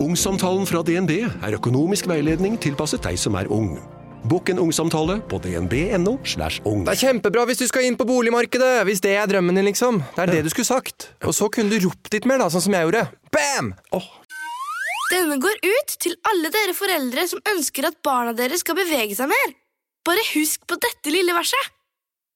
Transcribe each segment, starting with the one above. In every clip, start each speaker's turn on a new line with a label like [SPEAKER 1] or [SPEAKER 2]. [SPEAKER 1] Ungsamtalen fra DNB er økonomisk veiledning tilpasset deg som er ung. Bokk en ungsamtale på dnb.no. slash ung.
[SPEAKER 2] Det er kjempebra hvis du skal inn på boligmarkedet, hvis det er drømmen din, liksom. Det er det du skulle sagt. Og så kunne du ropt litt mer, da, sånn som jeg gjorde. Bam!
[SPEAKER 3] Denne går ut til alle dere foreldre som ønsker at barna deres skal bevege seg mer. Bare husk på dette lille verset.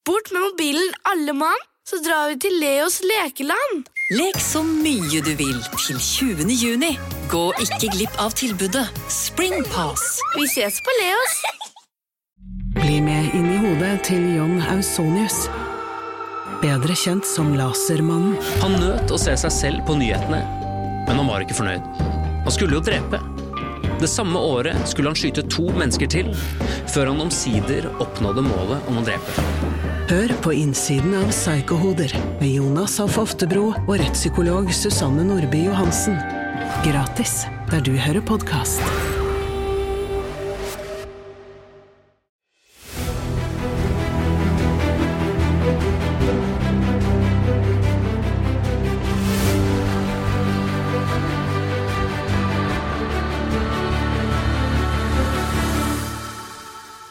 [SPEAKER 3] Bort med mobilen, alle mann, så drar vi til Leos lekeland.
[SPEAKER 4] Lek så mye du vil til 20. juni. Gå ikke glipp av tilbudet Springpass.
[SPEAKER 3] Vi ses på Leos.
[SPEAKER 5] Bli med inn i hodet til John Ausonius. Bedre kjent som Lasermannen.
[SPEAKER 6] Han nøt å se seg selv på nyhetene, men han var ikke fornøyd. Han skulle jo drepe. Det samme året skulle han skyte to mennesker til, før han omsider oppnådde målet om å drepe.
[SPEAKER 5] Hør på innsiden av Psykohoder med Jonas Alf Oftebro og rettspsykolog Susanne Nordby Johansen. Gratis der du hører podkast.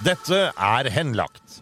[SPEAKER 7] Dette er henlagt.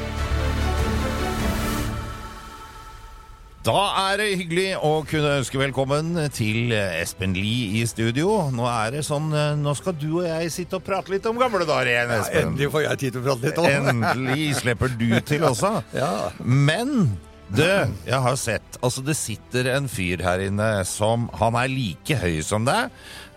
[SPEAKER 7] Da er det hyggelig å kunne ønske velkommen til Espen Lie i studio. Nå er det sånn, eh, nå skal du og jeg sitte og prate litt om gamle dager igjen, Espen.
[SPEAKER 8] Endelig får jeg tid til å prate
[SPEAKER 7] Endelig slipper du til også. Men du, jeg har sett Altså, det sitter en fyr her inne som Han er like høy som deg.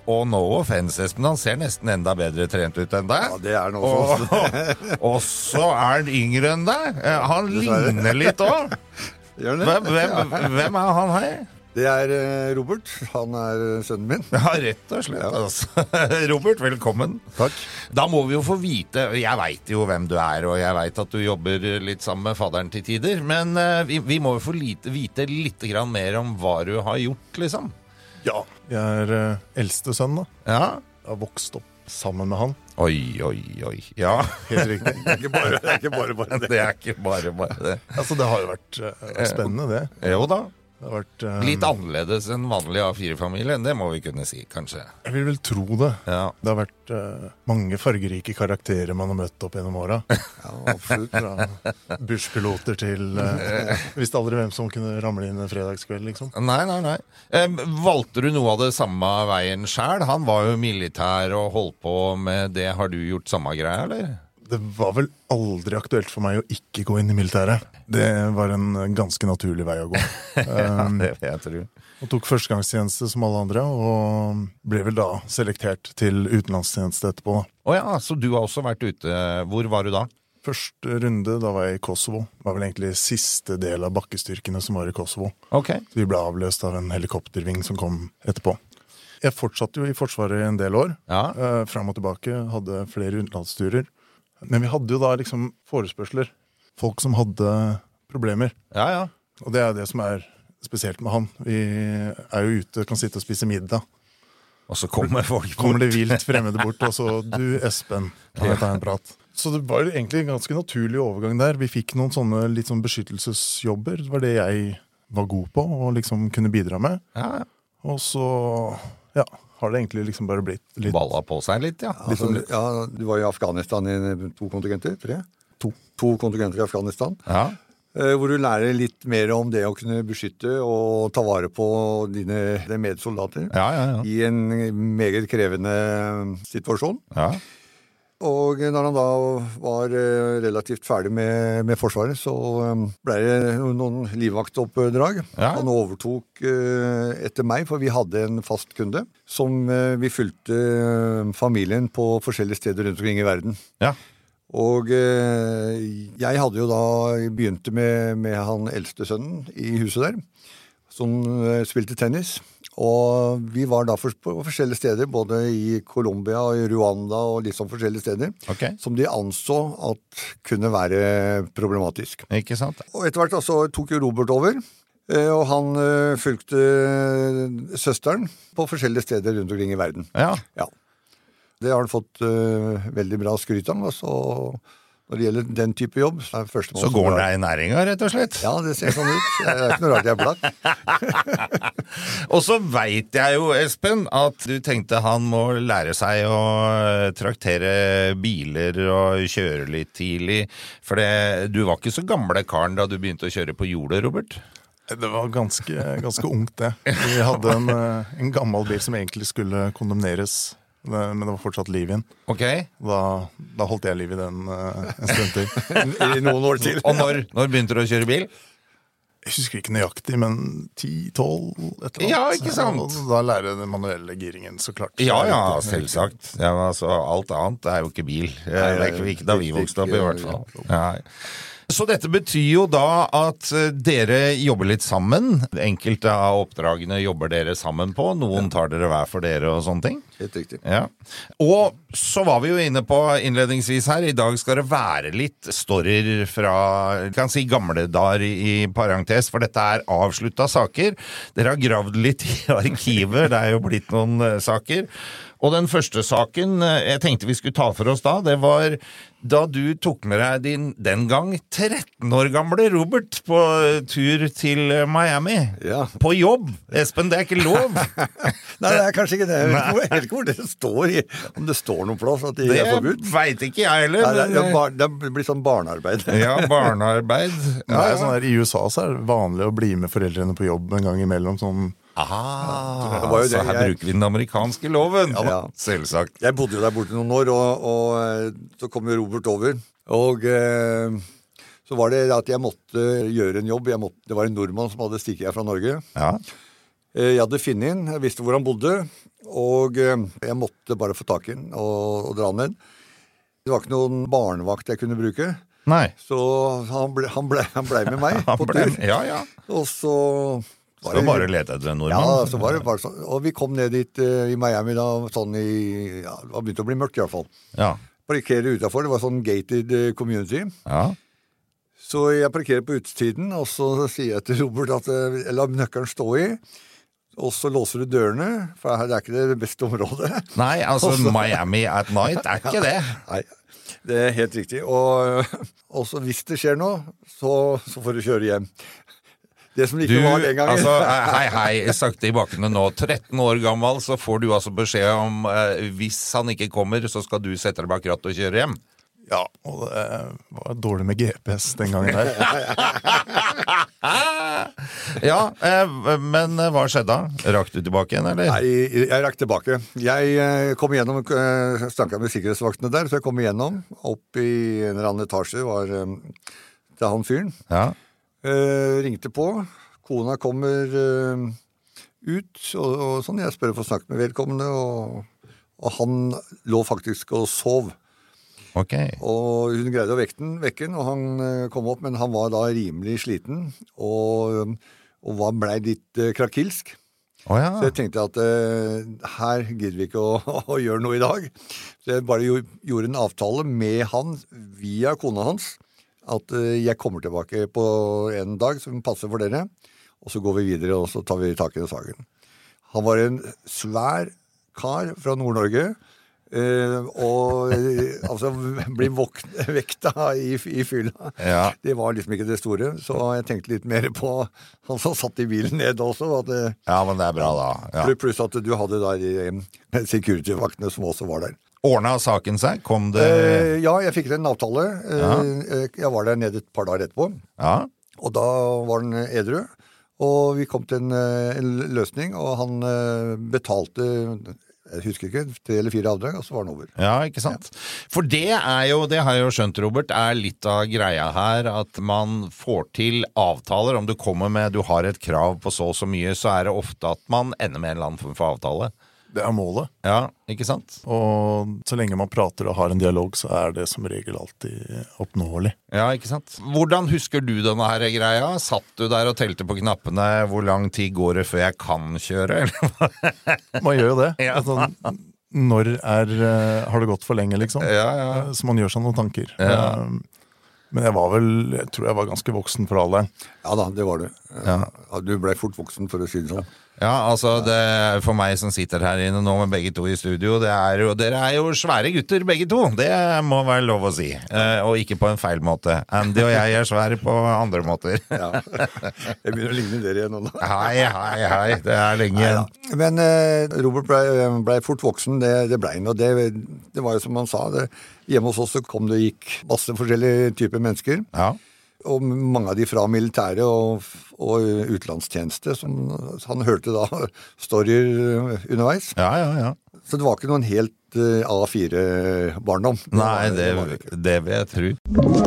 [SPEAKER 7] Og no offense, Espen, han ser nesten enda bedre trent ut enn deg.
[SPEAKER 8] Ja, det er han også.
[SPEAKER 7] og, og så er han yngre enn deg. Eh, Han
[SPEAKER 8] Dessverre.
[SPEAKER 7] ligner litt òg.
[SPEAKER 8] Gjør det?
[SPEAKER 7] Hvem, hvem, hvem er han her?
[SPEAKER 8] Det er eh, Robert. Han er eh, sønnen min.
[SPEAKER 7] Ja, rett og slett. Altså. Robert, velkommen.
[SPEAKER 8] Takk.
[SPEAKER 7] Da må vi jo få vite Jeg veit jo hvem du er, og jeg veit at du jobber litt sammen med fadderen til tider, men eh, vi, vi må jo få lite, vite litt grann mer om hva du har gjort, liksom.
[SPEAKER 8] Ja.
[SPEAKER 9] Jeg er eh, eldste sønn, da.
[SPEAKER 7] Ja.
[SPEAKER 9] Jeg har vokst opp sammen med han.
[SPEAKER 7] Oi, oi, oi. Ja.
[SPEAKER 9] Helt riktig.
[SPEAKER 8] Ikke bare, det er ikke bare bare det.
[SPEAKER 7] Det er ikke bare bare det.
[SPEAKER 9] altså, det har jo vært eh, spennende, det.
[SPEAKER 7] Jo da.
[SPEAKER 9] det har vært, eh,
[SPEAKER 7] Litt annerledes enn vanlig A4-familie, det må vi kunne si, kanskje.
[SPEAKER 9] Jeg vil vel tro det.
[SPEAKER 7] Ja.
[SPEAKER 9] Det har vært eh, mange fargerike karakterer man har møtt opp gjennom åra.
[SPEAKER 8] Ja, absolutt.
[SPEAKER 9] Fra busspiloter til eh, Visste aldri hvem som kunne ramle inn en fredagskveld, liksom.
[SPEAKER 7] Nei, nei, nei. Eh, valgte du noe av det samme veien sjæl? Han var jo militær og holdt på med det. Har du gjort samme greia, eller?
[SPEAKER 9] Det var vel aldri aktuelt for meg å ikke gå inn i militæret. Det var en ganske naturlig vei å gå. Um,
[SPEAKER 7] det vil jeg tro.
[SPEAKER 9] Og tok førstegangstjeneste som alle andre, og ble vel da selektert til utenlandstjeneste etterpå. da.
[SPEAKER 7] Å ja, så du har også vært ute. Hvor var du da?
[SPEAKER 9] Første runde, da var jeg i Kosovo. Det var vel egentlig siste del av bakkestyrkene som var i Kosovo.
[SPEAKER 7] Ok.
[SPEAKER 9] Så vi ble avløst av en helikopterving som kom etterpå. Jeg fortsatte jo i Forsvaret i en del år.
[SPEAKER 7] Ja.
[SPEAKER 9] Eh, Fram og tilbake. Hadde flere utenlandsturer. Men vi hadde jo da liksom forespørsler. Folk som hadde problemer.
[SPEAKER 7] Ja, ja.
[SPEAKER 9] Og det er det som er spesielt med han. Vi er jo ute, kan sitte og spise middag.
[SPEAKER 7] Og så kommer folk
[SPEAKER 9] kommer det vilt fremmede bort, og så Du, Espen, kan jeg ta en prat? Så det var jo egentlig en ganske naturlig overgang der. Vi fikk noen sånne litt sånn beskyttelsesjobber. Det var det jeg var god på og liksom kunne bidra med.
[SPEAKER 7] Ja, ja.
[SPEAKER 9] Og så ja, har det egentlig liksom bare blitt litt
[SPEAKER 7] Balla på seg litt, ja.
[SPEAKER 8] Altså, ja, du var i Afghanistan i to kontingenter? Tre?
[SPEAKER 9] To.
[SPEAKER 8] To kontingenter i Afghanistan.
[SPEAKER 7] ja.
[SPEAKER 8] eh, Hvor du lærer litt mer om det å kunne beskytte og ta vare på dine dine medsoldater
[SPEAKER 7] Ja, ja, ja.
[SPEAKER 8] i en meget krevende eh, situasjon.
[SPEAKER 7] ja.
[SPEAKER 8] Og når han da var eh, relativt ferdig med, med Forsvaret, så eh, ble det noen livvaktoppdrag.
[SPEAKER 7] Ja.
[SPEAKER 8] Han overtok eh, etter meg, for vi hadde en fast kunde som eh, vi fulgte eh, familien på forskjellige steder rundt omkring i verden. Og eh, jeg hadde jo da begynte med, med han eldste sønnen i huset der, som eh, spilte tennis. Og vi var da for, på forskjellige steder, både i Colombia og i Rwanda og litt sånn forskjellige steder, som de anså at kunne være problematisk.
[SPEAKER 7] Ikke sant?
[SPEAKER 8] Og etter hvert da, så tok jo Robert over, eh, og han eh, fulgte søsteren på forskjellige steder rundt omkring i verden.
[SPEAKER 7] Ja.
[SPEAKER 8] Det har han fått eh, veldig bra skryt av. og så- når det gjelder den type jobb, så er førstemann
[SPEAKER 7] Så
[SPEAKER 8] som
[SPEAKER 7] går
[SPEAKER 8] drar.
[SPEAKER 7] det i næringa, rett og slett?
[SPEAKER 8] Ja, det ser sånn ut. Det er ikke noe rart jeg er blakk.
[SPEAKER 7] Og så veit jeg jo, Espen, at du tenkte han må lære seg å eh, traktere biler og kjøre litt tidlig. For det, du var ikke så gamle karen da du begynte å kjøre på jordet, Robert?
[SPEAKER 5] Det var ganske, ganske ungt, det. Vi hadde en, eh, en gammel bil som egentlig skulle kondemneres, det- men det var fortsatt liv i den.
[SPEAKER 7] Ok.
[SPEAKER 5] Da, da holdt jeg liv i den eh, en stund til.
[SPEAKER 7] I noen år til. Og når- begynte du å kjøre bil?
[SPEAKER 5] Jeg husker ikke nøyaktig, men 10-12 et eller annet.
[SPEAKER 7] Ja, ikke sant?
[SPEAKER 5] Og da lærer jeg den manuelle giringen, så klart.
[SPEAKER 7] Ja ja, selvsagt. Ja, men altså, alt annet er jo ikke bil. Eh, Det er ikke, ikke da vi vokste opp, i hvert fall. Nei. Så dette betyr jo da at eh, dere jobber litt sammen. Enkelte av oppdragene jobber dere sammen på. Noen tar dere hver for dere og sånne ting.
[SPEAKER 8] Helt riktig.
[SPEAKER 7] Ja. Og så var vi jo inne på innledningsvis her, i dag skal det være litt storyer fra jeg kan si gamle dager i parentes, for dette er avslutta saker. Dere har gravd litt i arkivet, det er jo blitt noen eh, saker. Og den første saken eh, jeg tenkte vi skulle ta for oss da, det var da du tok med deg din den gang 13 år gamle Robert på eh, tur til eh, Miami. På jobb. Espen, det er ikke lov.
[SPEAKER 8] Nei, det er kanskje ikke det. Jeg vet ikke hvor-
[SPEAKER 7] Nei.
[SPEAKER 8] jeg vet ikke hvor det står, i, om det står noen plass at de
[SPEAKER 7] Det
[SPEAKER 8] er forbudt.
[SPEAKER 7] veit ikke jeg heller.
[SPEAKER 8] Nei, det, er-
[SPEAKER 7] men- eh,
[SPEAKER 8] ja, bar, det blir sånn barnearbeid.
[SPEAKER 7] barnearbeid.
[SPEAKER 5] Det er jo sånn der, I USA så er det vanlig å bli med foreldrene på jobb en gang imellom. Sånn,
[SPEAKER 7] Ah,
[SPEAKER 8] Det var jo
[SPEAKER 7] så
[SPEAKER 8] det
[SPEAKER 7] her
[SPEAKER 8] jeg-
[SPEAKER 7] bruker vi den amerikanske loven.
[SPEAKER 8] Ja da.
[SPEAKER 7] Selvsagt.
[SPEAKER 8] Jeg bodde jo der borte noen år, og, og eh, så kom jo Robert over. Og eh, så var det at jeg måtte gjøre en jobb. Jeg måtte, det var en nordmann som hadde stikket her fra Norge. Eh, Jeg hadde funnet inn, jeg visste hvor han bodde, og eh, jeg måtte bare få tak i han og, og dra han ned. Det var ikke noen barnevakt jeg kunne bruke,
[SPEAKER 7] Nei.
[SPEAKER 8] så han blei ble, han ble med meg
[SPEAKER 7] Han
[SPEAKER 8] på
[SPEAKER 7] ble
[SPEAKER 8] tur.
[SPEAKER 7] med, ja, ja.
[SPEAKER 8] Og så
[SPEAKER 7] Så bare lete etter en nordmann.
[SPEAKER 8] Ja, så var det bare sånn. Og vi kom ned dit eh, i Miami da, sånn i ja, Det var begynt å bli mørkt, iallfall.
[SPEAKER 7] Ja.
[SPEAKER 8] Parkere utafor. Det var sånn gated eh, community.
[SPEAKER 7] Ja.
[SPEAKER 8] Så jeg parkerer på utsiden, og så sier jeg til Robert at eh, jeg lar nøkkelen stå i. Og så låser du dørene, for her- det er ikke det beste området.
[SPEAKER 7] Nei, altså
[SPEAKER 8] Og så-
[SPEAKER 7] Miami at night er ikke det.
[SPEAKER 8] Nei, det er helt riktig. Og, og så hvis det skjer noe, så, så får du kjøre hjem. Det som
[SPEAKER 7] Du,
[SPEAKER 8] ikke var den gangen
[SPEAKER 7] altså, hei, hei, sakte i bakkene nå. 13 år gammel, så får du altså beskjed om eh, hvis han ikke kommer, så skal du sette deg bak rattet og kjøre hjem.
[SPEAKER 5] Ja, og det eh, var dårlig med GPS den gangen der.
[SPEAKER 7] Ja, eh, men eh, hva skjedde da? Rakk du tilbake igjen, eller?
[SPEAKER 8] Nei, jeg rakk tilbake. Jeg eh, kom igjennom, eh, snakka med sikkerhetsvaktene der, så jeg kom igjennom. Opp i en eller annen etasje var eh, det han fyren.
[SPEAKER 7] Ja.
[SPEAKER 8] Eh, ringte på. Kona kommer eh, ut, og, og sånn. Jeg spør om å få snakke med vedkommende, og, og han lå faktisk og sov.
[SPEAKER 7] Ok.
[SPEAKER 8] Og hun greide å vekke den, vekke den, og han eh, kom opp, men han var da rimelig sliten, og, og var- blei litt eh, krakilsk.
[SPEAKER 7] Å ja.
[SPEAKER 8] Så jeg tenkte at eh, her gidder vi ikke å, å gjøre noe i dag. Så jeg bare gjo- gjorde en avtale med han via kona hans at eh, jeg kommer tilbake på en dag som passer for dere, og så går vi videre og så tar vi tak i den saken. Han var en svær kar fra Nord-Norge. eh, og eh, altså bli våkn, vekta i, i fylla.
[SPEAKER 7] Ja.
[SPEAKER 8] Det var liksom ikke det store. Så jeg tenkte litt mer på han som satt i bilen nede også. At, eh,
[SPEAKER 7] Ja, men det er bra, da. Ja.
[SPEAKER 8] Plu- Pluss at du hadde da de eh, security-vaktene som også var der.
[SPEAKER 7] Ordna saken seg? Kom det
[SPEAKER 8] Eh, ja, jeg fikk til en avtale. Eh,
[SPEAKER 7] Ja.
[SPEAKER 8] eh, Jeg var der nede et par dager etterpå.
[SPEAKER 7] Ja.
[SPEAKER 8] Og da var han edru. Og vi kom til en, eh, en løsning, og han eh, betalte
[SPEAKER 5] jeg husker ikke, tre eller fire avdrag, og så var den over.
[SPEAKER 7] Ja, ikke sant? For det er jo, det har jeg jo skjønt, Robert, er litt av greia her at man får til avtaler. Om du kommer med du har et krav på så og så mye, så er det ofte at man ender med en eller annen form for avtale.
[SPEAKER 1] Det er målet.
[SPEAKER 7] Ja, ikke sant?
[SPEAKER 1] Og så lenge man prater og har en dialog, så er det som regel alltid oppnåelig.
[SPEAKER 7] Ja, ikke sant? Hvordan husker du denne her greia? Satt du der og telte på knappene? Hvor lang tid går det før jeg kan kjøre? eller hva?
[SPEAKER 1] Man gjør jo det.
[SPEAKER 7] Ja.
[SPEAKER 1] Altså, når er, eh, har det gått for lenge, liksom? Eh, Så man gjør seg noen tanker.
[SPEAKER 7] Ja.
[SPEAKER 1] Eh, Men jeg var vel, jeg tror jeg var ganske voksen for alderen.
[SPEAKER 5] Ja da, det var du. Ja, Du blei fort voksen, for å si det sånn.
[SPEAKER 7] Ja, altså det, For meg som sitter her inne nå med begge to i studio, det er jo, dere er jo svære gutter begge to. Det må være lov å si. Eh, og ikke på en feil måte. Andy og jeg er svære på andre måter.
[SPEAKER 5] Jeg begynner å ligne dere igjen nå. da.
[SPEAKER 7] Hei, hei, hei. Det er lenge igjen.
[SPEAKER 5] Men eh, Robert blei ble fort voksen, det, det blei han. Og det, det var jo som han sa, det, hjemme hos oss så kom det og gikk masse forskjellige typer mennesker. Og mange av de fra militæret og, og utenlandstjeneste, som han hørte da storyer underveis. Så det var ikke noen helt eh, A4-barndom.
[SPEAKER 7] Nei, det, det vil jeg tro.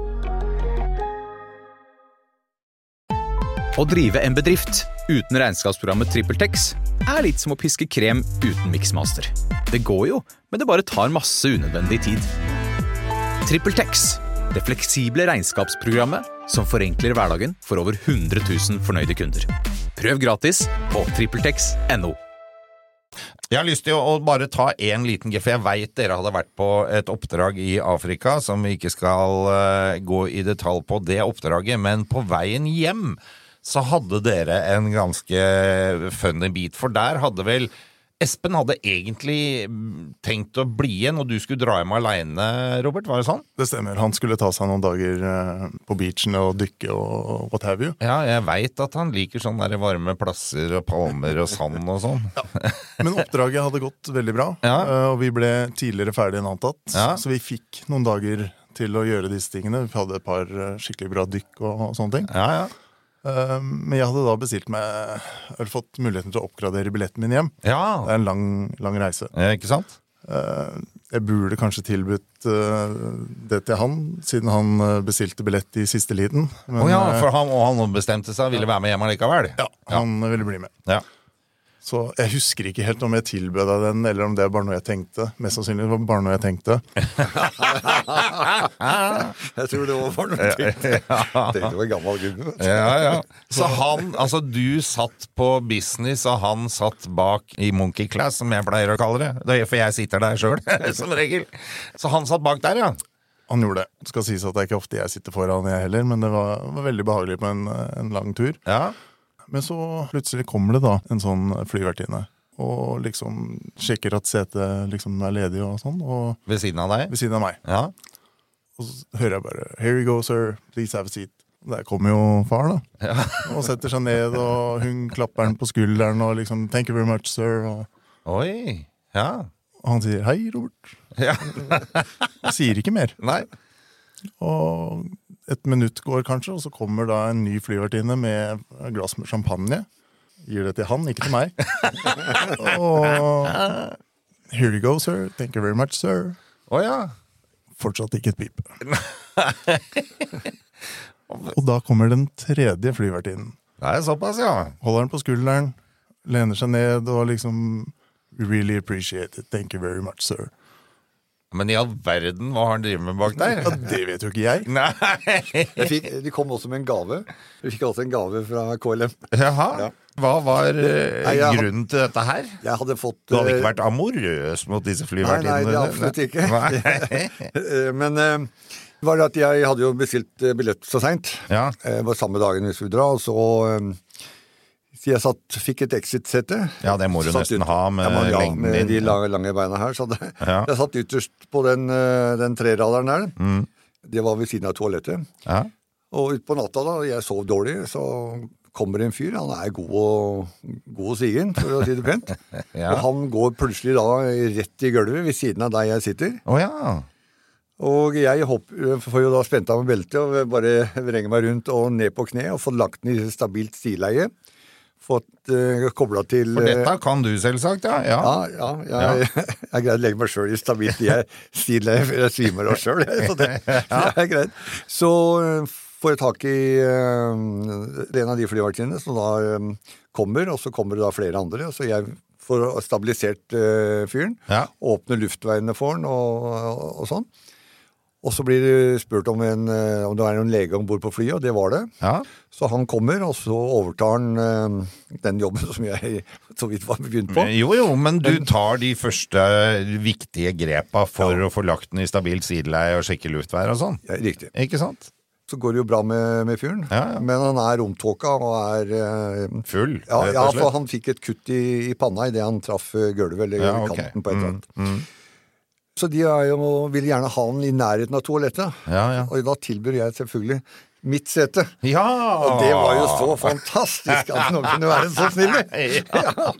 [SPEAKER 6] Å drive en bedrift uten regnskapsprogrammet TrippelTex er litt som å piske krem uten miksmaster. Det går jo, men det bare tar masse unødvendig tid. TrippelTex, det fleksible regnskapsprogrammet som forenkler hverdagen for over 100 000 fornøyde kunder. Prøv gratis på TrippelTex.no.
[SPEAKER 7] Jeg har lyst til å å bare ta en liten greie, for jeg veit dere hadde vært på et oppdrag i Afrika som vi ikke skal eh, gå i detalj på det oppdraget, men på veien hjem så hadde dere en ganske funny bit, for der hadde vel Espen hadde egentlig mm, tenkt å bli igjen, og du skulle dra hjem aleine, Robert, var det sånn?
[SPEAKER 1] Det stemmer. Han skulle ta seg noen dager eh, på beachen og dykke og what have you.
[SPEAKER 7] Ja, jeg veit at han liker sånne der varme plasser og palmer og sand og sånn.
[SPEAKER 1] Men oppdraget hadde gått veldig bra,
[SPEAKER 7] Ja.
[SPEAKER 1] eh, og vi ble tidligere ferdig enn antatt.
[SPEAKER 7] Ja.
[SPEAKER 1] Så vi fikk noen dager til å gjøre disse tingene. Vi hadde et par eh, skikkelig bra dykk og, og sånne ting. Eh, Men jeg hadde da bestilt meg Eller fått muligheten til å oppgradere billetten min hjem. Det er en lang, lang reise.
[SPEAKER 7] ikke sant?
[SPEAKER 1] Eh, Jeg burde kanskje tilbudt eh, det til han, siden han eh, bestilte billett i siste liten.
[SPEAKER 7] Å ja,
[SPEAKER 1] eh,
[SPEAKER 7] for han, og han ombestemte seg og ville være med hjem allikevel? Ja,
[SPEAKER 1] han ville bli med.
[SPEAKER 7] Ja.
[SPEAKER 1] Så jeg husker ikke helt om jeg tilbød deg den, eller om det er bare noe jeg tenkte. Mest sannsynlig var det bare noe jeg tenkte.
[SPEAKER 5] jeg tror det var for noe tenkt. Tenkte på en gammel gubbe. vet du.
[SPEAKER 7] Ja, ja. Så han, altså du satt på business, og han satt bak i monkey class, som jeg pleier å kalle det. det er for jeg sitter der sjøl, som regel. Så han satt bak der, ja.
[SPEAKER 1] Han gjorde det. Det skal sies at det er ikke ofte jeg sitter foran, jeg heller, men det var, var veldig behagelig på en, en lang tur. Men så plutselig kommer det da en sånn flyvertinne og liksom sjekker at setet liksom er ledig og sånn. Og
[SPEAKER 7] ved siden av deg?
[SPEAKER 1] Ved siden av meg. Og så hører jeg bare 'Here you go, sir. Please have a seat'. Der kommer jo far, da. og setter seg ned, og hun klapper han på skulderen og liksom 'Thank you very much, sir'. Og
[SPEAKER 7] Oi, ja.
[SPEAKER 1] og han sier 'Hei, Robert'. Han sier ikke mer.
[SPEAKER 7] Nei.
[SPEAKER 1] Og et minutt går kanskje, og så kommer da en ny flyvertinne med et glass med champagne. Gir det til han, ikke til meg. og Here you go, sir. Thank you very much, sir.
[SPEAKER 7] Å ja.
[SPEAKER 1] Fortsatt ikke et pip. og da kommer den tredje flyvertinnen.
[SPEAKER 7] Det er såpass, ja.
[SPEAKER 1] Holder den på skulderen, lener seg ned og liksom We really appreciate it. Thank you very much, sir.
[SPEAKER 7] Men i all verden, hva har han drevet med bak der?
[SPEAKER 1] Ja, det vet jo ikke jeg.
[SPEAKER 5] Jeg fikk, de kom også med en gave. Vi fikk også en gave fra KLM.
[SPEAKER 7] Jaha. Hva var eh,
[SPEAKER 5] Nei, jeg-
[SPEAKER 7] grunnen til dette her?
[SPEAKER 5] Jeg hadde fått
[SPEAKER 7] Du hadde ikke
[SPEAKER 5] eh,
[SPEAKER 7] vært amorøs mot disse
[SPEAKER 5] Nei, nei, det
[SPEAKER 7] flyvertinnene?
[SPEAKER 5] er absolutt
[SPEAKER 7] Nei.
[SPEAKER 5] ikke. Eh, Men eh, det var det at jeg hadde jo bestilt eh, billett så seint.
[SPEAKER 7] Ja.
[SPEAKER 5] Det var samme dagen vi skulle dra, og så eh, Så ehm, jeg satt, fikk et exit-sete.
[SPEAKER 7] Ja, det må du
[SPEAKER 5] Satt
[SPEAKER 7] nesten
[SPEAKER 5] ut-
[SPEAKER 7] ha med
[SPEAKER 5] ja, men, ja,
[SPEAKER 7] lengden
[SPEAKER 5] med
[SPEAKER 7] din.
[SPEAKER 5] de lange, lange beina her. Så det,
[SPEAKER 7] Ja.
[SPEAKER 5] jeg satt ytterst på den, eh, den treradaren der.
[SPEAKER 7] Mm.
[SPEAKER 5] Det var ved siden av toalettet.
[SPEAKER 7] Ja.
[SPEAKER 5] Og utpå natta, da, jeg sov dårlig, så kommer en fyr. Han er god og, god og sigen, for å si det pent.
[SPEAKER 7] Ja.
[SPEAKER 5] Og han går plutselig da rett i gulvet ved siden av der jeg sitter.
[SPEAKER 7] Å ja.
[SPEAKER 5] Og jeg hopper, får jo da spent av meg beltet og bare vrenger meg rundt og ned på kne og fått lagt den i stabilt stileie. Fått uh, kobla til
[SPEAKER 7] For dette
[SPEAKER 5] eh,
[SPEAKER 7] kan du selvsagt, ja. Ja,
[SPEAKER 5] ja, ja, jeg, jeg greide å legge meg sjøl i stabilt jeg- stileie før jeg svimer av sjøl, så det, det er greit. Så eh, får jeg tak i eh, en av de flyvertinnene som da eh, kommer, og så kommer det da flere andre. Så jeg får stabilisert eh, fyren, åpner luftveiene for han og, og, og sånn. Og så blir det spurt om, en, eh, om det er noen lege om bord på flyet, og det var det. Så han kommer, og så overtar han eh, den jobben som jeg så vidt var begynt på.
[SPEAKER 7] Jo, jo, men du tar de første viktige grepa for å få lagt den i stabilt sideleie og sjekke luftvær og sånn.
[SPEAKER 5] Ja, riktig.
[SPEAKER 7] Ikke sant?
[SPEAKER 5] Så går det jo bra med, med fyren, men han er romtåka og er eh,
[SPEAKER 7] Full,
[SPEAKER 5] Ja,
[SPEAKER 7] rett og
[SPEAKER 5] ja,
[SPEAKER 7] slett.
[SPEAKER 5] for han fikk et kutt i, i panna idet han traff eh, gulvet eller
[SPEAKER 7] Ja, ok.
[SPEAKER 5] kanten på et eller annet.
[SPEAKER 7] Mm, mm.
[SPEAKER 5] Så de er jo, vil gjerne ha den i nærheten av toalettet. Og da tilbyr jeg selvfølgelig mitt sete. Og det var jo så fantastisk at noen kunne være så snille! Ja.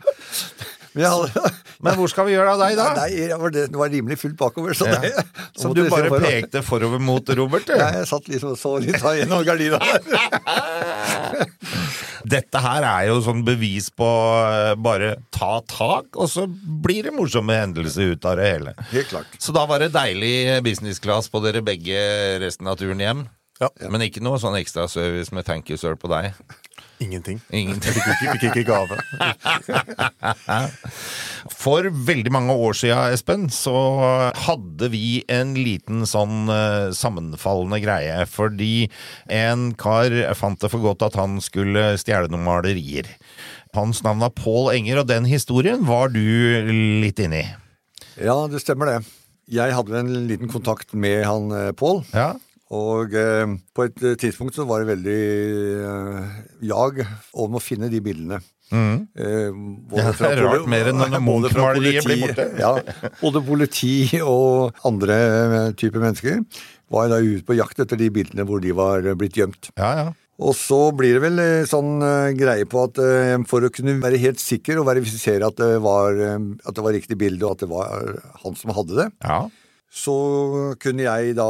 [SPEAKER 5] Men, jeg hadde,
[SPEAKER 7] Men hvor skal vi gjøre av deg, da?
[SPEAKER 5] Nei, jeg var det, det var rimelig fullt bakover, så
[SPEAKER 7] Ja.
[SPEAKER 5] det
[SPEAKER 7] Så
[SPEAKER 5] måtte
[SPEAKER 7] du
[SPEAKER 5] jeg se
[SPEAKER 7] bare
[SPEAKER 5] for-
[SPEAKER 7] pekte forover mot Robert, du?
[SPEAKER 5] Ja, jeg satt liksom og så litt av gjennom gardina der.
[SPEAKER 7] Dette her er jo sånn bevis på eh, bare ta tak, og så blir det morsomme hendelser ut av det hele.
[SPEAKER 5] Helt klart.
[SPEAKER 7] Så da var det deilig business class på dere begge resten av turen hjem. Men ikke noe sånn ekstra service med thank you sir på deg.
[SPEAKER 1] Ingenting.
[SPEAKER 7] Ingenting.
[SPEAKER 1] Jeg fikk ikke, fikk ikke gave.
[SPEAKER 7] For veldig mange år siden, Espen, så hadde vi en liten sånn eh, sammenfallende greie. Fordi en kar fant det for godt at han skulle stjele noen malerier. Hans navn var Pål Enger, og den historien var du litt inni.
[SPEAKER 5] Ja, det stemmer det. Jeg hadde en liten kontakt med han eh, Pål. Og eh, på et eh, tidspunkt så var det veldig eh, jag om å finne de bildene.
[SPEAKER 7] Mhm.
[SPEAKER 5] Eh, både
[SPEAKER 7] Ja,
[SPEAKER 5] fra
[SPEAKER 7] det er rart
[SPEAKER 5] poli-
[SPEAKER 7] mer enn når
[SPEAKER 5] både fra
[SPEAKER 7] Munch-maleriet blir
[SPEAKER 5] politi-
[SPEAKER 7] borte.
[SPEAKER 5] ja, både politi og andre eh, typer mennesker var da ute på jakt etter de bildene hvor de var eh, blitt gjemt. Og så blir det vel eh, sånn eh, greie på at eh, for å kunne være helt sikker og verifisere at det var, eh, at det var riktig bilde, og at det var han som hadde det, så kunne jeg da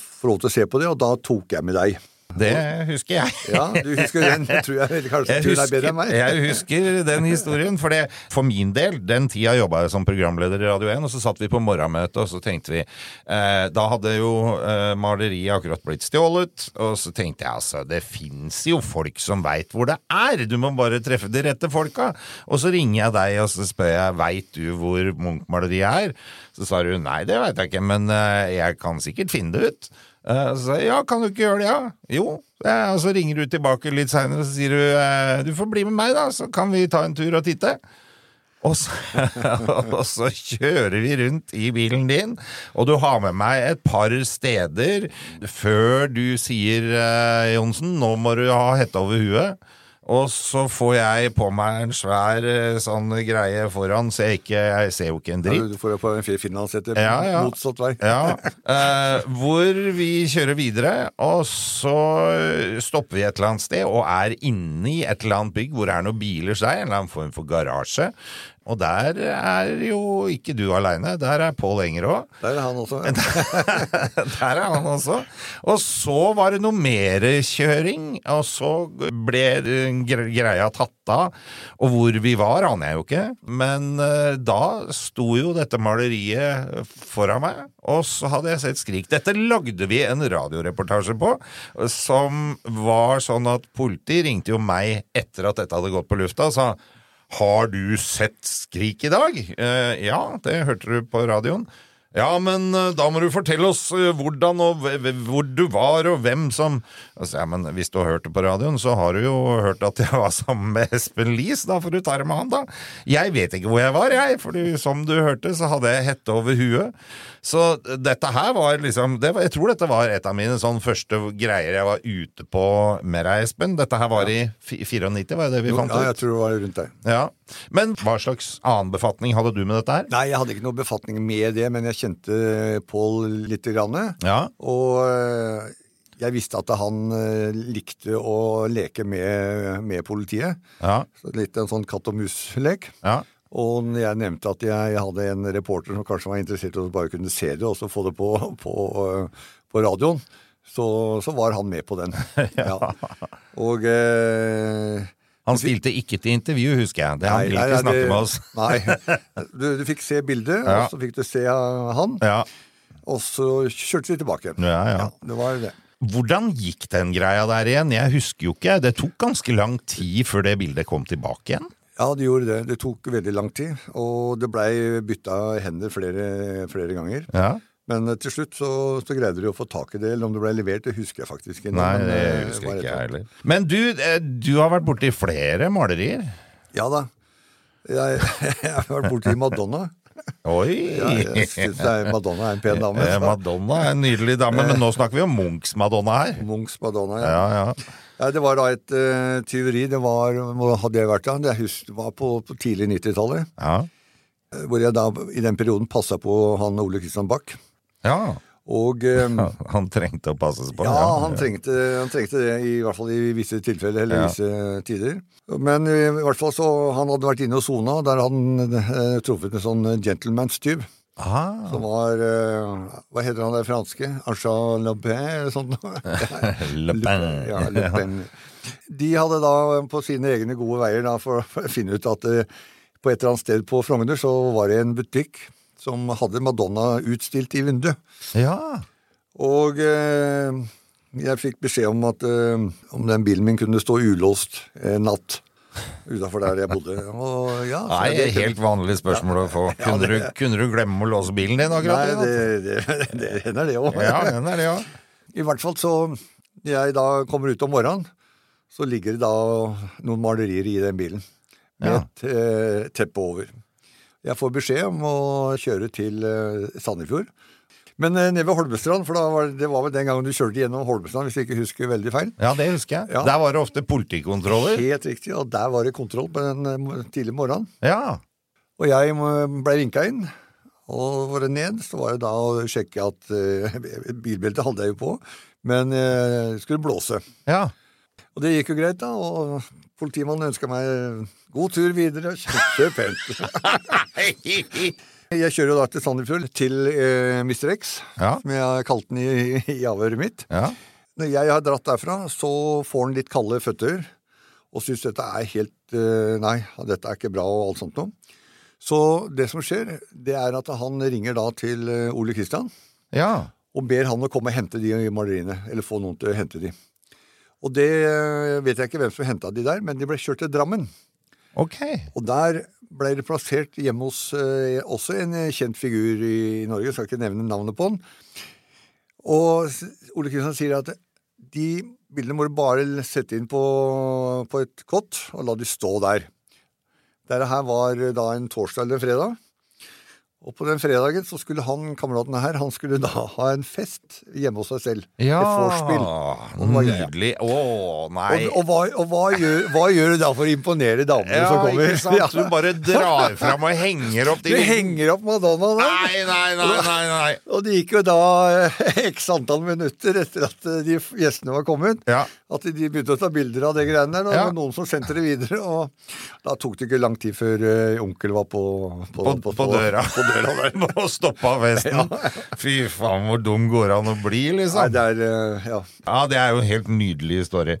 [SPEAKER 5] få lov til å se på det, og da tok jeg med deg.
[SPEAKER 7] Det husker jeg.
[SPEAKER 5] Ja, du husker den, tror jeg, eller kanskje du er bedre enn meg.
[SPEAKER 7] jeg husker den historien, for det, for min del, den tida jobba jeg som programleder i Radio 1, og så satt vi på morgenmøte, og så tenkte vi eh, Da hadde jo eh, maleriet akkurat blitt stjålet, og så tenkte jeg altså, det fins jo folk som veit hvor det er, du må bare treffe de rette folka. Og så ringer jeg deg, og så spør jeg veit du hvor Munch-maleriet er? Så svarer hun nei, det veit jeg ikke, men eh, jeg kan sikkert finne det ut. Eh, Så sa jeg ja, kan du ikke gjøre det, ja? Jo. Eh, Og så ringer du tilbake litt seinere og så sier du eh, du får bli med meg, da, så kan vi ta en tur og titte. Og så, og så kjører vi rundt i bilen din, og du har med meg et par steder før du sier eh, Johnsen, nå må du ha hette over huet. Og så får jeg på meg en svær eh, sånn greie foran, så jeg, ikke, jeg ser jo ikke en dritt.
[SPEAKER 5] Ja, du får jo på en finlandshette
[SPEAKER 7] Ja, ja.
[SPEAKER 5] motsatt vei.
[SPEAKER 7] Ja, eh, hvor vi kjører videre, og så stopper vi et eller annet sted og er inne i et eller annet bygg hvor det er noen biler seg, en eller annen form for garasje. Og der er jo ikke du aleine, der er Pål Enger òg.
[SPEAKER 5] Der er han også.
[SPEAKER 7] Der er han også. Og så var det noe mer kjøring, og så ble eh, gre- greia tatt av. Og hvor vi var, aner jeg jo ikke, men eh, da sto jo dette maleriet foran meg, og så hadde jeg sett Skrik. Dette lagde vi en radioreportasje på, som var sånn at politiet ringte jo meg etter at dette hadde gått på lufta, og sa har du sett Skrik i dag? Eh, ja, det hørte du på radioen. Ja, men eh, da må du fortelle oss eh, hvordan og hve- hve- hvor du var, og hvem som altså, Ja, men hvis du har hørt det på radioen, så har du jo hørt at jeg var sammen med Espen Lies. Da får du ta det med han, da. Jeg vet ikke hvor jeg var, jeg, for som du hørte, så hadde jeg hette over huet. Så eh, dette her var liksom det var, Jeg tror dette var et av mine sånn første greier jeg var ute på med deg, Espen. Dette her var i fi- 94, var det det vi fant ut?
[SPEAKER 5] Ja, jeg tror det var rundt der.
[SPEAKER 7] Ja, Men hva slags annen befatning hadde du med dette her?
[SPEAKER 5] Nei, jeg hadde ikke noe befatning med det, men jeg kjente Pål lite grann.
[SPEAKER 7] Ja.
[SPEAKER 5] Og eh, jeg visste at han eh, likte å leke med, med politiet.
[SPEAKER 7] Ja.
[SPEAKER 5] Så litt en sånn katt og mus-lek.
[SPEAKER 7] Ja.
[SPEAKER 5] Og når jeg nevnte at jeg hadde en reporter som kanskje var interessert i å bare kunne se det, og så få det på, på, eh, på radioen, så, så var han med på den. ja. Og eh,
[SPEAKER 7] Han stilte ikke til intervju, husker jeg. Det, han ville ikke snakke
[SPEAKER 5] det-
[SPEAKER 7] med oss.
[SPEAKER 5] Nei. Du, du fikk se bildet,
[SPEAKER 7] Ja.
[SPEAKER 5] og så fikk du se uh, han. Og så kjørte vi tilbake igjen.
[SPEAKER 7] Ja, ja.
[SPEAKER 5] det var det.
[SPEAKER 7] Hvordan gikk den greia der igjen? Jeg husker jo ikke. Det tok ganske lang tid før det bildet kom tilbake igjen.
[SPEAKER 5] Ja, det gjorde det. Det tok veldig lang tid, og det blei bytta hender flere, flere ganger.
[SPEAKER 7] Ja.
[SPEAKER 5] Men eh, til slutt så, så greide du å få tak i det, eller om det blei levert, det husker jeg faktisk ikke.
[SPEAKER 7] Nei,
[SPEAKER 5] men,
[SPEAKER 7] det
[SPEAKER 5] eh,
[SPEAKER 7] husker
[SPEAKER 5] var
[SPEAKER 7] ikke
[SPEAKER 5] et
[SPEAKER 7] jeg
[SPEAKER 5] eller annet.
[SPEAKER 7] heller. Men du, eh, du har vært borti flere malerier.
[SPEAKER 5] Ja da. Jeg, jeg har vært borti Madonna.
[SPEAKER 7] Oi!
[SPEAKER 5] Ja, jeg synes det er- Madonna er en pen dame,
[SPEAKER 7] Eh,
[SPEAKER 5] så-
[SPEAKER 7] Madonna er en nydelig dame, men nå snakker vi om Munchs-Madonna her.
[SPEAKER 5] Munchs-Madonna,
[SPEAKER 7] ja. ja,
[SPEAKER 5] Ja, det var da et eh, tyveri. Det var, hvor hadde jeg vært da? Jeg husker, det var på, på tidlig 90-tallet. Eh, Hvor jeg da i den perioden passa på han Ole Kristian Bach.
[SPEAKER 7] Ja.
[SPEAKER 5] Og eh,
[SPEAKER 7] Han trengte å passes på.
[SPEAKER 5] ja, han trengte, han trengte det, i hvert fall i visse tilfeller, eller
[SPEAKER 7] Ja.
[SPEAKER 5] visse tider. Men i hvert fall så Han hadde vært inne og sona, der hadde han eh, truffet en sånn gentlemanstyv.
[SPEAKER 7] Ah.
[SPEAKER 5] Som var eh, Hva heter han der franske? Archan Lapin, eller sånt noe?
[SPEAKER 7] Le Pen.
[SPEAKER 5] Ja, Le Pen. De hadde da på sine egne gode veier da, for, for å finne ut at eh, på et eller annet sted på Frogner så var det en butikk som hadde Madonna utstilt i vinduet.
[SPEAKER 7] Ja.
[SPEAKER 5] Og eh, jeg fikk beskjed om at eh, om den bilen min kunne stå ulåst en natt utafor der jeg bodde. Og, ja, så
[SPEAKER 7] Nei,
[SPEAKER 5] det kunne-
[SPEAKER 7] helt vanlig spørsmål å få.
[SPEAKER 5] Ja,
[SPEAKER 7] Kunne du,
[SPEAKER 5] det-
[SPEAKER 7] kunne du glemme å låse bilen din akkurat? i
[SPEAKER 5] Nei,
[SPEAKER 7] natt?
[SPEAKER 5] det, det, det hender det òg.
[SPEAKER 7] Ja, det hender det også.
[SPEAKER 5] I hvert fall så når jeg da kommer ut om morgenen, så ligger det da noen malerier i den bilen. Med
[SPEAKER 7] Ja.
[SPEAKER 5] et eh, teppe over. Jeg får beskjed om å kjøre til eh, Sandefjord. Men eh, ned ved Holmestrand, for da var, det var vel den gangen du kjørte gjennom Holmestrand, hvis jeg ikke husker veldig feil.
[SPEAKER 7] Ja, det husker jeg. Der var det ofte politikontroller.
[SPEAKER 5] Helt riktig, og der var det kontroll på den eh, mo- tidlige morgenen.
[SPEAKER 7] Ja.
[SPEAKER 5] Og jeg eh, ble rinka inn, og var det ned, så var det da å sjekke at eh, Bilbeltet hadde jeg jo på, men eh, skulle blåse.
[SPEAKER 7] Ja.
[SPEAKER 5] Og det gikk jo greit, da, og politimannen ønska meg eh, god tur videre, og kjør pent. Jeg kjører jo da til Sandefjord, til eh, Mr. X, som jeg har kalt den i, i avhøret mitt. Når jeg har dratt derfra, så får han litt kalde føtter og syns dette er helt eh, Nei, dette er ikke bra og alt sånt noe. Så det som skjer, det er at han ringer da til eh, Ole Kristian
[SPEAKER 7] Ja.
[SPEAKER 5] og ber han å komme og hente de maleriene. Eller få noen til å hente de. Og det eh, vet jeg ikke hvem som henta de der, men de ble kjørt til Drammen. Og der ble det plassert hjemme hos eh, også en eh, kjent figur i, i Norge, jeg skal ikke nevne navnet på han. Og s- Ole Kristian sier at de bildene må du bare sette inn på, på et kott og la de stå der. Dette her var eh, da en torsdag eller en fredag. Og på den fredagen så skulle han, kameraten her, han skulle da ha en fest hjemme hos seg selv. Et vorspiel. Og det var greia.
[SPEAKER 7] Nydelig. Å, nei.
[SPEAKER 5] Og, og, hva, og hva, gjør, hva gjør du da for å imponere damene
[SPEAKER 7] Ja,
[SPEAKER 5] som kommer?
[SPEAKER 7] ikke sant? Du bare drar fram og henger opp de-
[SPEAKER 5] Du henger opp Madonna da.
[SPEAKER 7] Nei, nei, nei, nei, nei.
[SPEAKER 5] Og det gikk jo da eh, x antall minutter etter at eh, de f- gjestene var kommet, at de begynte å ta bilder av det greiene der. Og det
[SPEAKER 7] Ja.
[SPEAKER 5] var noen som sendte det videre. Og da tok det ikke lang tid før eh, onkel var på, på,
[SPEAKER 7] på, på døra.
[SPEAKER 5] På døra der.
[SPEAKER 7] Nå stoppa festen. Fy faen, hvor dum går det an å bli, liksom?
[SPEAKER 5] Nei, det er, eh, ja.
[SPEAKER 7] det er jo en helt nydelig historie.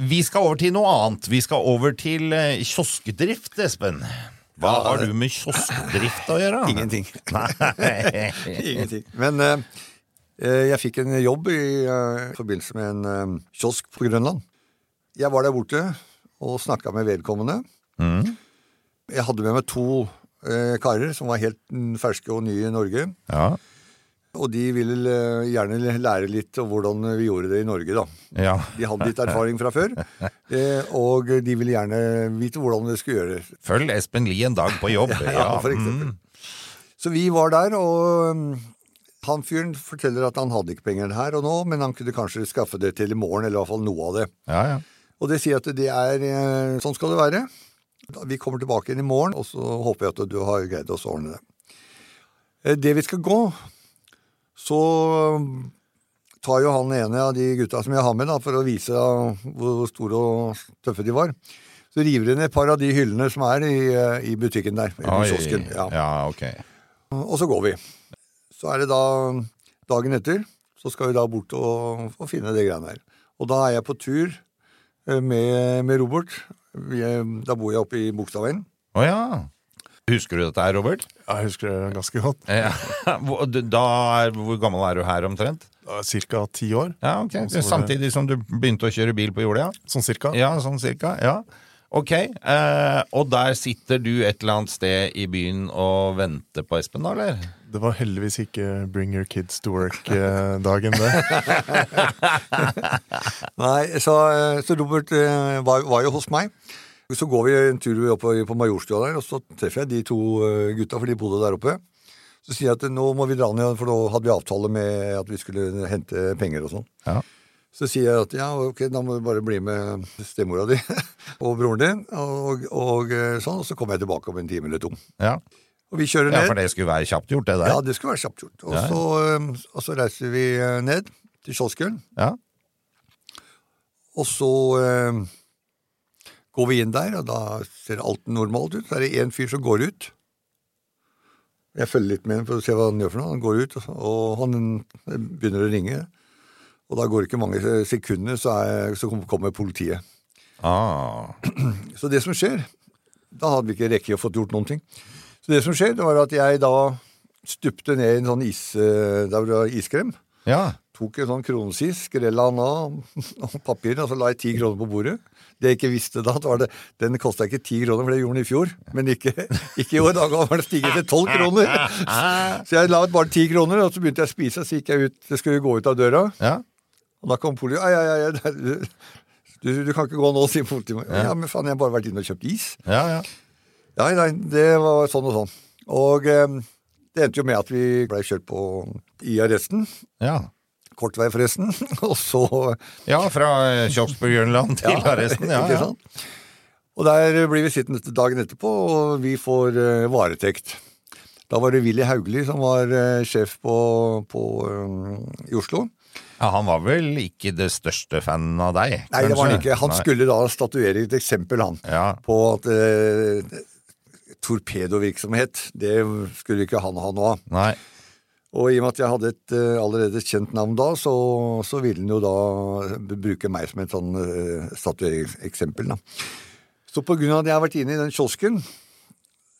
[SPEAKER 7] Vi skal over til noe annet. Vi skal over til eh, kioskdrift, Espen. Hva har du med kioskdrift å gjøre?
[SPEAKER 5] Ingenting.
[SPEAKER 7] Nei.
[SPEAKER 5] Ingenting. Men eh, eh, jeg fikk en jobb i eh, forbindelse med en eh, kiosk på Grønland. Jeg var der borte og snakka med vedkommende.
[SPEAKER 7] Mm.
[SPEAKER 5] Jeg hadde med meg to eh, karer som var helt mm, ferske og nye i Norge.
[SPEAKER 7] Ja.
[SPEAKER 5] Og de ville eh, gjerne lære litt om hvordan vi gjorde det i Norge, da.
[SPEAKER 7] ja.
[SPEAKER 5] De hadde litt erfaring fra før, eh, og de ville gjerne vite hvordan det skulle gjøres.
[SPEAKER 7] Følg Espen Lie en dag på jobb. mm.
[SPEAKER 5] Ja, for eksempel. Så vi var der, og um, han fyren forteller at han hadde ikke penger her og nå, men han kunne kanskje skaffe det til i morgen, eller i hvert fall noe av det.
[SPEAKER 7] Ja, ja.
[SPEAKER 5] Og det sier at det er eh, Sånn skal det være. Vi kommer tilbake igjen i morgen, og så håper jeg at du har greid oss å ordne det. Eh, Det vi skal gå, så um, tar jo han ene av de gutta som jeg har med, da, for å vise da hvor store og tøffe de var. Så river de ned et par av de hyllene som er i, eh, i butikken der. i
[SPEAKER 7] Oi.
[SPEAKER 5] kiosken. Ja.
[SPEAKER 7] Ja, ok.
[SPEAKER 5] Og så går vi. Så er det da dagen etter, så skal vi da bort og, og finne det greiene her. Og da er jeg på tur eh, med, med Robert. Vi er, da bor jeg oppe i Bogstadveien.
[SPEAKER 7] Å ja. Husker du dette her, Robert?
[SPEAKER 1] Ja, jeg husker det ganske godt.
[SPEAKER 7] Ja. Hvor- Da er, hvor gammel er du her omtrent?
[SPEAKER 1] Cirka ti år.
[SPEAKER 7] Ja, ok.
[SPEAKER 1] Og så var det-
[SPEAKER 7] Samtidig som du begynte å kjøre bil på jorda? Ja.
[SPEAKER 1] Sånn cirka.
[SPEAKER 7] Ja, sånn cirka, ja. Ok, eh, og der sitter du et eller annet sted i byen og venter på Espen, da, eller?
[SPEAKER 1] Det var heldigvis ikke Bring Your Kids to Work-dagen, det.
[SPEAKER 5] Nei, så, eh, så Robert eh, var, var jo hos meg. Så går vi en tur opp på, på Majorstua der, og så treffer jeg de to eh, gutta, for de bodde der oppe. Så sier jeg at nå må vi dra ned, for da hadde vi avtale med at vi skulle hente penger og sånn. Så sier jeg at ja, ok, da må du bare bli med stemora di og broren din, og, og eh, sånn, og så kommer jeg tilbake om en time eller to.
[SPEAKER 7] Ja.
[SPEAKER 5] Og vi kjører
[SPEAKER 7] Ja,
[SPEAKER 5] ned.
[SPEAKER 7] for det skulle være kjapt gjort, det der.
[SPEAKER 5] Ja, det skulle være kjapt gjort. Og,
[SPEAKER 7] Ja.
[SPEAKER 5] så, øhm, og så reiser vi øh, ned til kiosken.
[SPEAKER 7] Ja.
[SPEAKER 5] Og så øhm, går vi inn der, og da ser alt normalt ut. Så er det én fyr som går ut. Jeg følger litt med ham for å se hva han gjør for noe. Han går ut, og han begynner å ringe. Og da går det ikke mange sekunder, så, er, så kommer politiet.
[SPEAKER 7] Ah.
[SPEAKER 5] Så det som skjer Da hadde vi ikke rekke å fått gjort noen ting. Så det som skjer, det var at jeg da stupte ned i en sånn is, eh, der hvor det var iskrem.
[SPEAKER 7] Ja.
[SPEAKER 5] Tok en sånn kronesis, skrella den av og papir, og så la jeg ti kroner på bordet. Det jeg ikke visste da, det var det, den kosta ikke ti kroner, for det gjorde den i fjor. Men ikke, ikke i år. Da var den stiget til tolv kroner. Så jeg la ut bare ti kroner, og så begynte jeg å spise, så gikk jeg ut, jeg skulle gå ut av døra. Og da kom politiet. Ai, ai, ai, det er- du, du kan ikke gå nå, sier politiet. Ja. men faen, jeg har bare vært inne og kjøpt is.
[SPEAKER 7] Ja, ja.
[SPEAKER 5] Nei, nei, det var sånn og sånn. Og eh, det endte jo med at vi ble kjørt på i arresten.
[SPEAKER 7] Ja.
[SPEAKER 5] Kort vei, forresten. og så
[SPEAKER 7] Ja, fra kiosk på Grønland til arresten. Ja,
[SPEAKER 5] ikke
[SPEAKER 7] ja.
[SPEAKER 5] sant? Og der blir vi sittende til dagen etterpå, og vi får eh, varetekt. Da var det Willy Hauglie som var eh, sjef på, på, eh, i Oslo.
[SPEAKER 7] ja, han var vel ikke det største fanen av deg?
[SPEAKER 5] Nei, det var han
[SPEAKER 7] kanskje?
[SPEAKER 5] ikke. Han
[SPEAKER 7] Nei.
[SPEAKER 5] skulle da statuere et eksempel, han, på at eh, torpedovirksomhet, det skulle ikke han ha nå.
[SPEAKER 7] Nei.
[SPEAKER 5] Og i og med at jeg hadde et eh, allerede kjent navn da, så, så ville han jo da bruke meg som et sånn eh, statuereksempel, da. Så på grunn av at jeg har vært inne i den kiosken,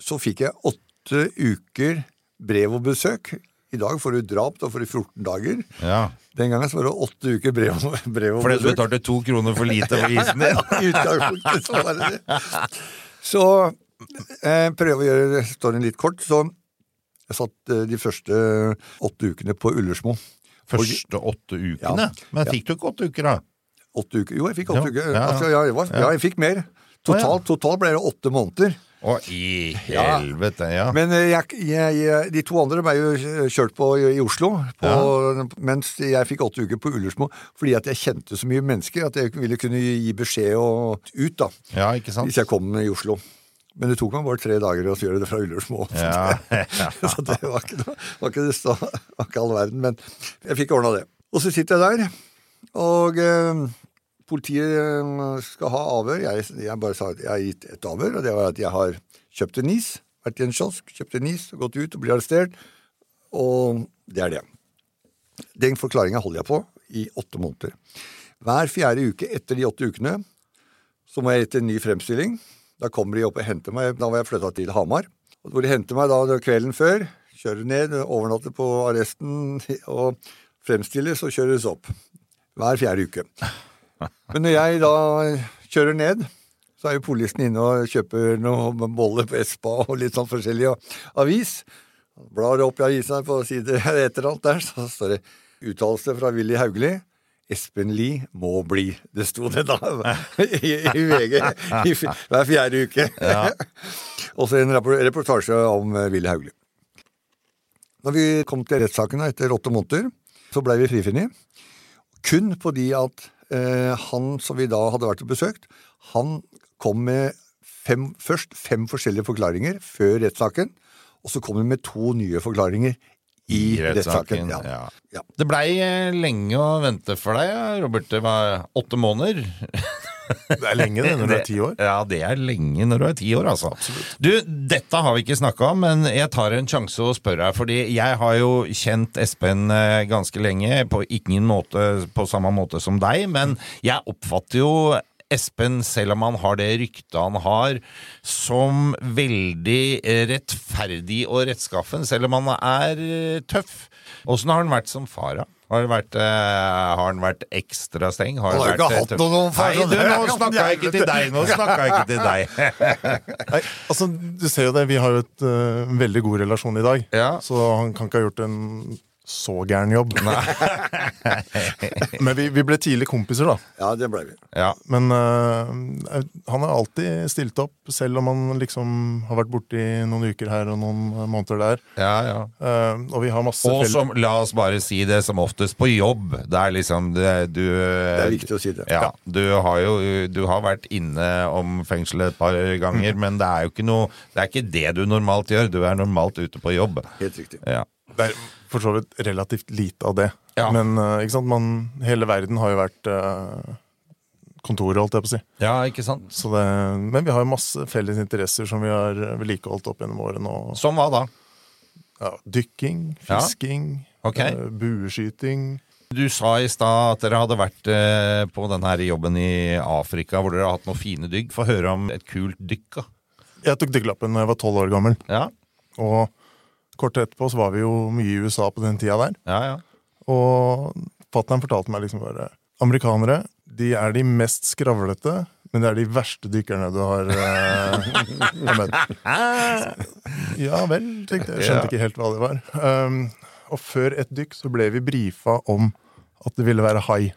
[SPEAKER 5] så fikk jeg åtte uker brev og besøk. I dag får du drap, da får du 14 dager.
[SPEAKER 7] Ja.
[SPEAKER 5] Den gangen så var det åtte uker brev og, brev og
[SPEAKER 7] Fordi du
[SPEAKER 5] besøk.
[SPEAKER 7] betalte to kroner for lite for isen din?
[SPEAKER 5] I utgangspunktet så var det det. Så eh, prøve å gjøre storyen litt kort. Så jeg satt eh, de første åtte ukene på Ullersmo.
[SPEAKER 7] Første åtte ukene? Men fikk du ikke åtte uker, da?
[SPEAKER 5] Åtte uker? Jo, jeg fikk åtte
[SPEAKER 7] Ja,
[SPEAKER 5] uker.
[SPEAKER 7] ja, ja.
[SPEAKER 5] Altså, ja, jeg var, ja, jeg fikk mer. Totalt, totalt ble det åtte måneder.
[SPEAKER 7] Å, i helvete, ja.
[SPEAKER 5] Men eh, jeg, jeg, jeg, de to andre ble jo kjørt på i i Oslo, på, mens jeg fikk åtte uker på Ullersmo fordi at jeg kjente så mye mennesker at jeg ville kunne gi gi beskjed og, ut, da.
[SPEAKER 7] Ja, ikke sant?
[SPEAKER 5] Hvis jeg kom i Oslo. Men det tok meg bare tre dager å gjøre det fra Ullersmo.
[SPEAKER 7] Ja.
[SPEAKER 5] så det var ikke, noe- var ikke, det sta- var ikke all verden, men jeg fikk ordna det. Og så sitter jeg der, og eh, politiet eh, skal ha avhør. Jeg, jeg bare sa at jeg har gitt et avhør, og det var at jeg har kjøpt en is, vært i en kiosk, kjøpt en is, gått ut og blitt arrestert, og det er det. Den forklaringa holder jeg på i åtte måneder. Hver fjerde uke etter de åtte ukene så må jeg gi til en ny fremstilling. Da kommer de opp og henter meg. Da var jeg flytta til Hamar. Og Hvor de henter meg da kvelden før, kjører ned, overnatter på arresten og fremstilles og kjøres opp. Hver fjerde uke. Men når jeg da kjører ned, så er jo politisten inne og kjøper noen boller på Espa og litt sånn forskjellig og avis. Blar opp i avisa på side etter alt der, så står det uttalelse fra Willy Hauglie. Espen Lie må bli. Det sto det da i, i VG i, f- hver fjerde uke.
[SPEAKER 7] Ja.
[SPEAKER 5] og så en rappor- reportasje om eh, Willy Hauglie. Når vi kom til rettssaken da, etter åtte måneder, så blei vi frifunnet. Kun fordi at eh, han som vi da hadde vært og besøkt, han kom med fem, først fem forskjellige forklaringer før rettssaken, og så kom han med to nye forklaringer i, rettssaken. Ja.
[SPEAKER 7] Det blei eh, lenge å vente for deg, ja, Robert. Det var åtte måneder. Det
[SPEAKER 1] er lenge, det, når du er ti
[SPEAKER 7] år. Ja, det er lenge når du er ti år, altså. Du, dette har vi ikke snakka om, men jeg tar en sjanse og spør deg. Fordi jeg har jo kjent Espen eh, ganske lenge, på ingen måte på samme måte som deg, men jeg oppfatter jo Espen, selv om han har det ryktet han har, som veldig eh, rettferdig og rettskaffen, selv om han er eh, tøff. Åssen har han vært som far, da? Har han vært, eh, har han vært ekstra streng? Har
[SPEAKER 5] Han har jo
[SPEAKER 7] vært,
[SPEAKER 5] ikke
[SPEAKER 7] eh,
[SPEAKER 5] hatt
[SPEAKER 7] tøff?
[SPEAKER 5] noen far
[SPEAKER 7] Nei,
[SPEAKER 5] som-
[SPEAKER 7] du, nå snakka jeg ikke til deg! Nå snakka jeg ikke til deg.
[SPEAKER 1] Nei, altså, du ser jo det, vi har jo et, eh, en veldig god relasjon i dag, så han kan ikke ha gjort en så gæren jobb. Men vi, vi ble tidlig kompiser, da.
[SPEAKER 5] Ja, det blei vi.
[SPEAKER 1] Men eh, han har alltid stilt opp, selv om han liksom har vært borti noen uker her og noen måneder der. Eh, og vi har masse
[SPEAKER 7] Og
[SPEAKER 1] felles-
[SPEAKER 7] som, la oss bare si det, som oftest på jobb. Det er liksom det, du Det
[SPEAKER 5] er viktig å si det.
[SPEAKER 7] Ja, du har jo du har vært inne om fengselet et par ganger, men det er jo ikke noe Det er ikke det du normalt gjør. Du er normalt ute på jobb.
[SPEAKER 5] Helt riktig.
[SPEAKER 7] Ja.
[SPEAKER 1] Det er for så vidt relativt lite av det. Men eh, ikke sant? Man, hele verden har jo vært eh, kontoret, holdt jeg på å si.
[SPEAKER 7] Ja, ikke sant?
[SPEAKER 1] Så det, men vi har jo masse felles interesser som vi har eh, vedlikeholdt opp gjennom årene. Og,
[SPEAKER 7] som hva da?
[SPEAKER 1] Ja, dykking,
[SPEAKER 7] Ja.
[SPEAKER 1] fisking,
[SPEAKER 7] Ok.
[SPEAKER 1] eh, bueskyting.
[SPEAKER 7] Du sa i stad at dere hadde vært eh, på den her jobben i Afrika hvor dere har hatt noen fine dygg. Få høre om et kult dykk, da.
[SPEAKER 1] Jeg tok dykkerlappen da jeg var tolv år gammel. Og kort etterpå så var vi jo mye i USA på den tida der. Og fatter'n fortalte meg liksom bare Amerikanere de er de mest skravlete, men det er de verste dykkerne du har eh, møtt. Ja vel, tenkte jeg. Skjønte ikke helt hva det var. Um, og før et dykk så ble vi brifa om at det ville være hai.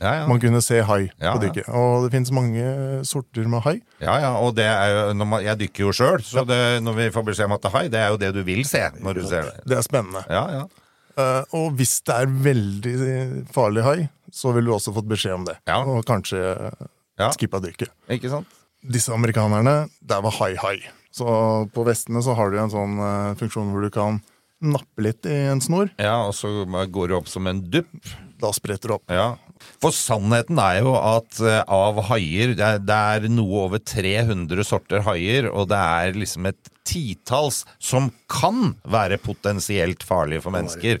[SPEAKER 7] ja.
[SPEAKER 1] Man kunne se hai
[SPEAKER 7] Ja,
[SPEAKER 1] på
[SPEAKER 7] ja.
[SPEAKER 1] dykket. Og det finnes mange sorter med hai.
[SPEAKER 7] Ja, ja, og det er jo, når man, jeg dykker jo sjøl, så det, når vi får beskjed om at det er hai, det er jo det du vil se når du ser det.
[SPEAKER 1] Det er spennende.
[SPEAKER 7] Ja, ja.
[SPEAKER 1] Eh, og hvis det er veldig farlig hai, så ville du også fått beskjed om det. Og kanskje
[SPEAKER 7] Ja.
[SPEAKER 1] skippa dykket.
[SPEAKER 7] Ikke sant?
[SPEAKER 1] Disse amerikanerne, der var hai-hai. Så på vestene så har du en sånn eh, funksjon hvor du kan nappe litt i en snor.
[SPEAKER 7] Ja, og så går det opp som en dupp.
[SPEAKER 1] Da spretter det opp.
[SPEAKER 7] Ja. For sannheten er jo at eh, av haier det er, det er noe over 300 sorter haier, og det er liksom et titalls som kan være potensielt farlige for mennesker.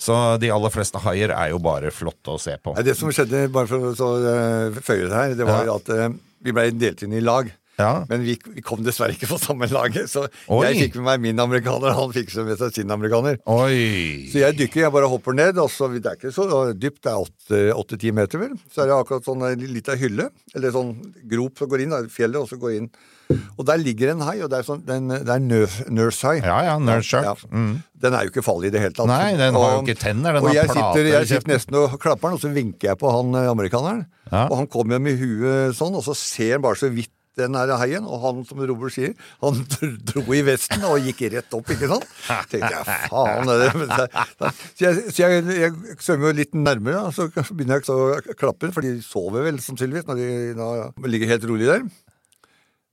[SPEAKER 7] Så de aller fleste haier er jo bare flotte å se på.
[SPEAKER 5] Nei, det som skjedde, bare for å så, eh, føye det her, det var
[SPEAKER 7] Ja.
[SPEAKER 5] at eh, vi ble delt inn i lag.
[SPEAKER 7] Ja.
[SPEAKER 5] Men vi, vi kom dessverre ikke på samme laget, så
[SPEAKER 7] Oi.
[SPEAKER 5] jeg fikk med meg min amerikaner, og han fikk med seg sin amerikaner.
[SPEAKER 7] Oi.
[SPEAKER 5] Så jeg dykker, jeg bare hopper ned, og så, det er ikke så dypt, det er åtte- åtte-ti meter vel. Så er det akkurat sånn en liten hylle, eller sånn grop som går inn, da, fjellet, og så går inn. Og der ligger en hai, og det er, sånn, den, det er nurse, nurse hai.
[SPEAKER 7] Ja, ja, nurse shark. Mm.
[SPEAKER 5] Den er jo ikke farlig i det hele tatt.
[SPEAKER 7] Nei, den har jo
[SPEAKER 5] Og-
[SPEAKER 7] ikke tenner, den
[SPEAKER 5] og
[SPEAKER 7] har
[SPEAKER 5] jeg
[SPEAKER 7] plater
[SPEAKER 5] sitter, jeg
[SPEAKER 7] i kjeften.
[SPEAKER 5] sitter nesten og klapper den, og så vinker jeg på han eh, amerikaneren.
[SPEAKER 7] Ja.
[SPEAKER 5] Og han kommer med huet sånn, og så ser han bare så vidt den her haien, og han, som Robert sier, han dro i vesten og gikk rett opp, ikke sant? tenkte jeg, faen er det men det er- Så jeg, så jeg, jeg svømmer jo litt nærmere, da, så begynner jeg så å klappe, for de sover vel sannsynligvis når de da, ligger helt rolig der.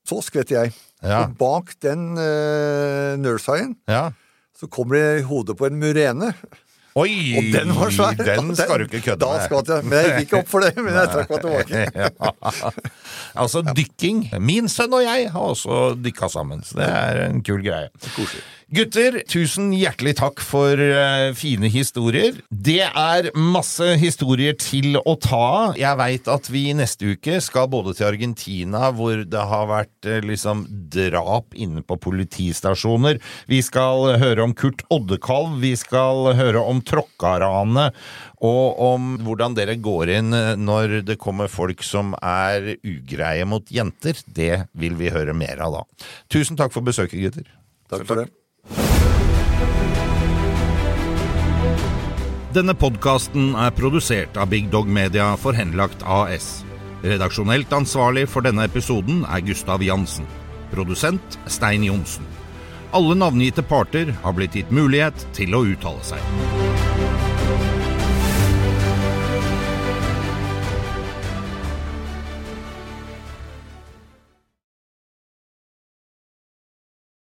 [SPEAKER 5] Så skvetter jeg.
[SPEAKER 7] Ja.
[SPEAKER 5] Og bak den uh, nursehaien
[SPEAKER 7] Ja.
[SPEAKER 5] så kommer det i hodet på en murene.
[SPEAKER 7] Oi!
[SPEAKER 5] Og den var svær!
[SPEAKER 7] Den skal du ikke kødde
[SPEAKER 5] da
[SPEAKER 7] med.
[SPEAKER 5] skvatt jeg. Men jeg gikk ikke opp for det, men jeg trakk meg tilbake.
[SPEAKER 7] tilbake. altså dykking. Min sønn og jeg har også dykka sammen, så det er en kul greie. Gutter, tusen hjertelig takk for eh, fine historier. Det er masse historier til å ta av. Jeg veit at vi neste uke skal både til Argentina, hvor det har vært eh, liksom drap inne på politistasjoner. Vi skal høre om Kurt Oddekalv, vi skal høre om Tråkkaranet, og om hvordan dere går inn eh, når det kommer folk som er ugreie mot jenter. Det vil vi høre mer av da. Tusen takk for besøket, gutter.
[SPEAKER 5] Takk for det.
[SPEAKER 7] Denne podkasten er produsert av Big Dog Media for Henlagt AS. Redaksjonelt ansvarlig for denne episoden er Gustav Jansen. Produsent Stein Johnsen. Alle navngitte parter har blitt gitt mulighet til å uttale seg.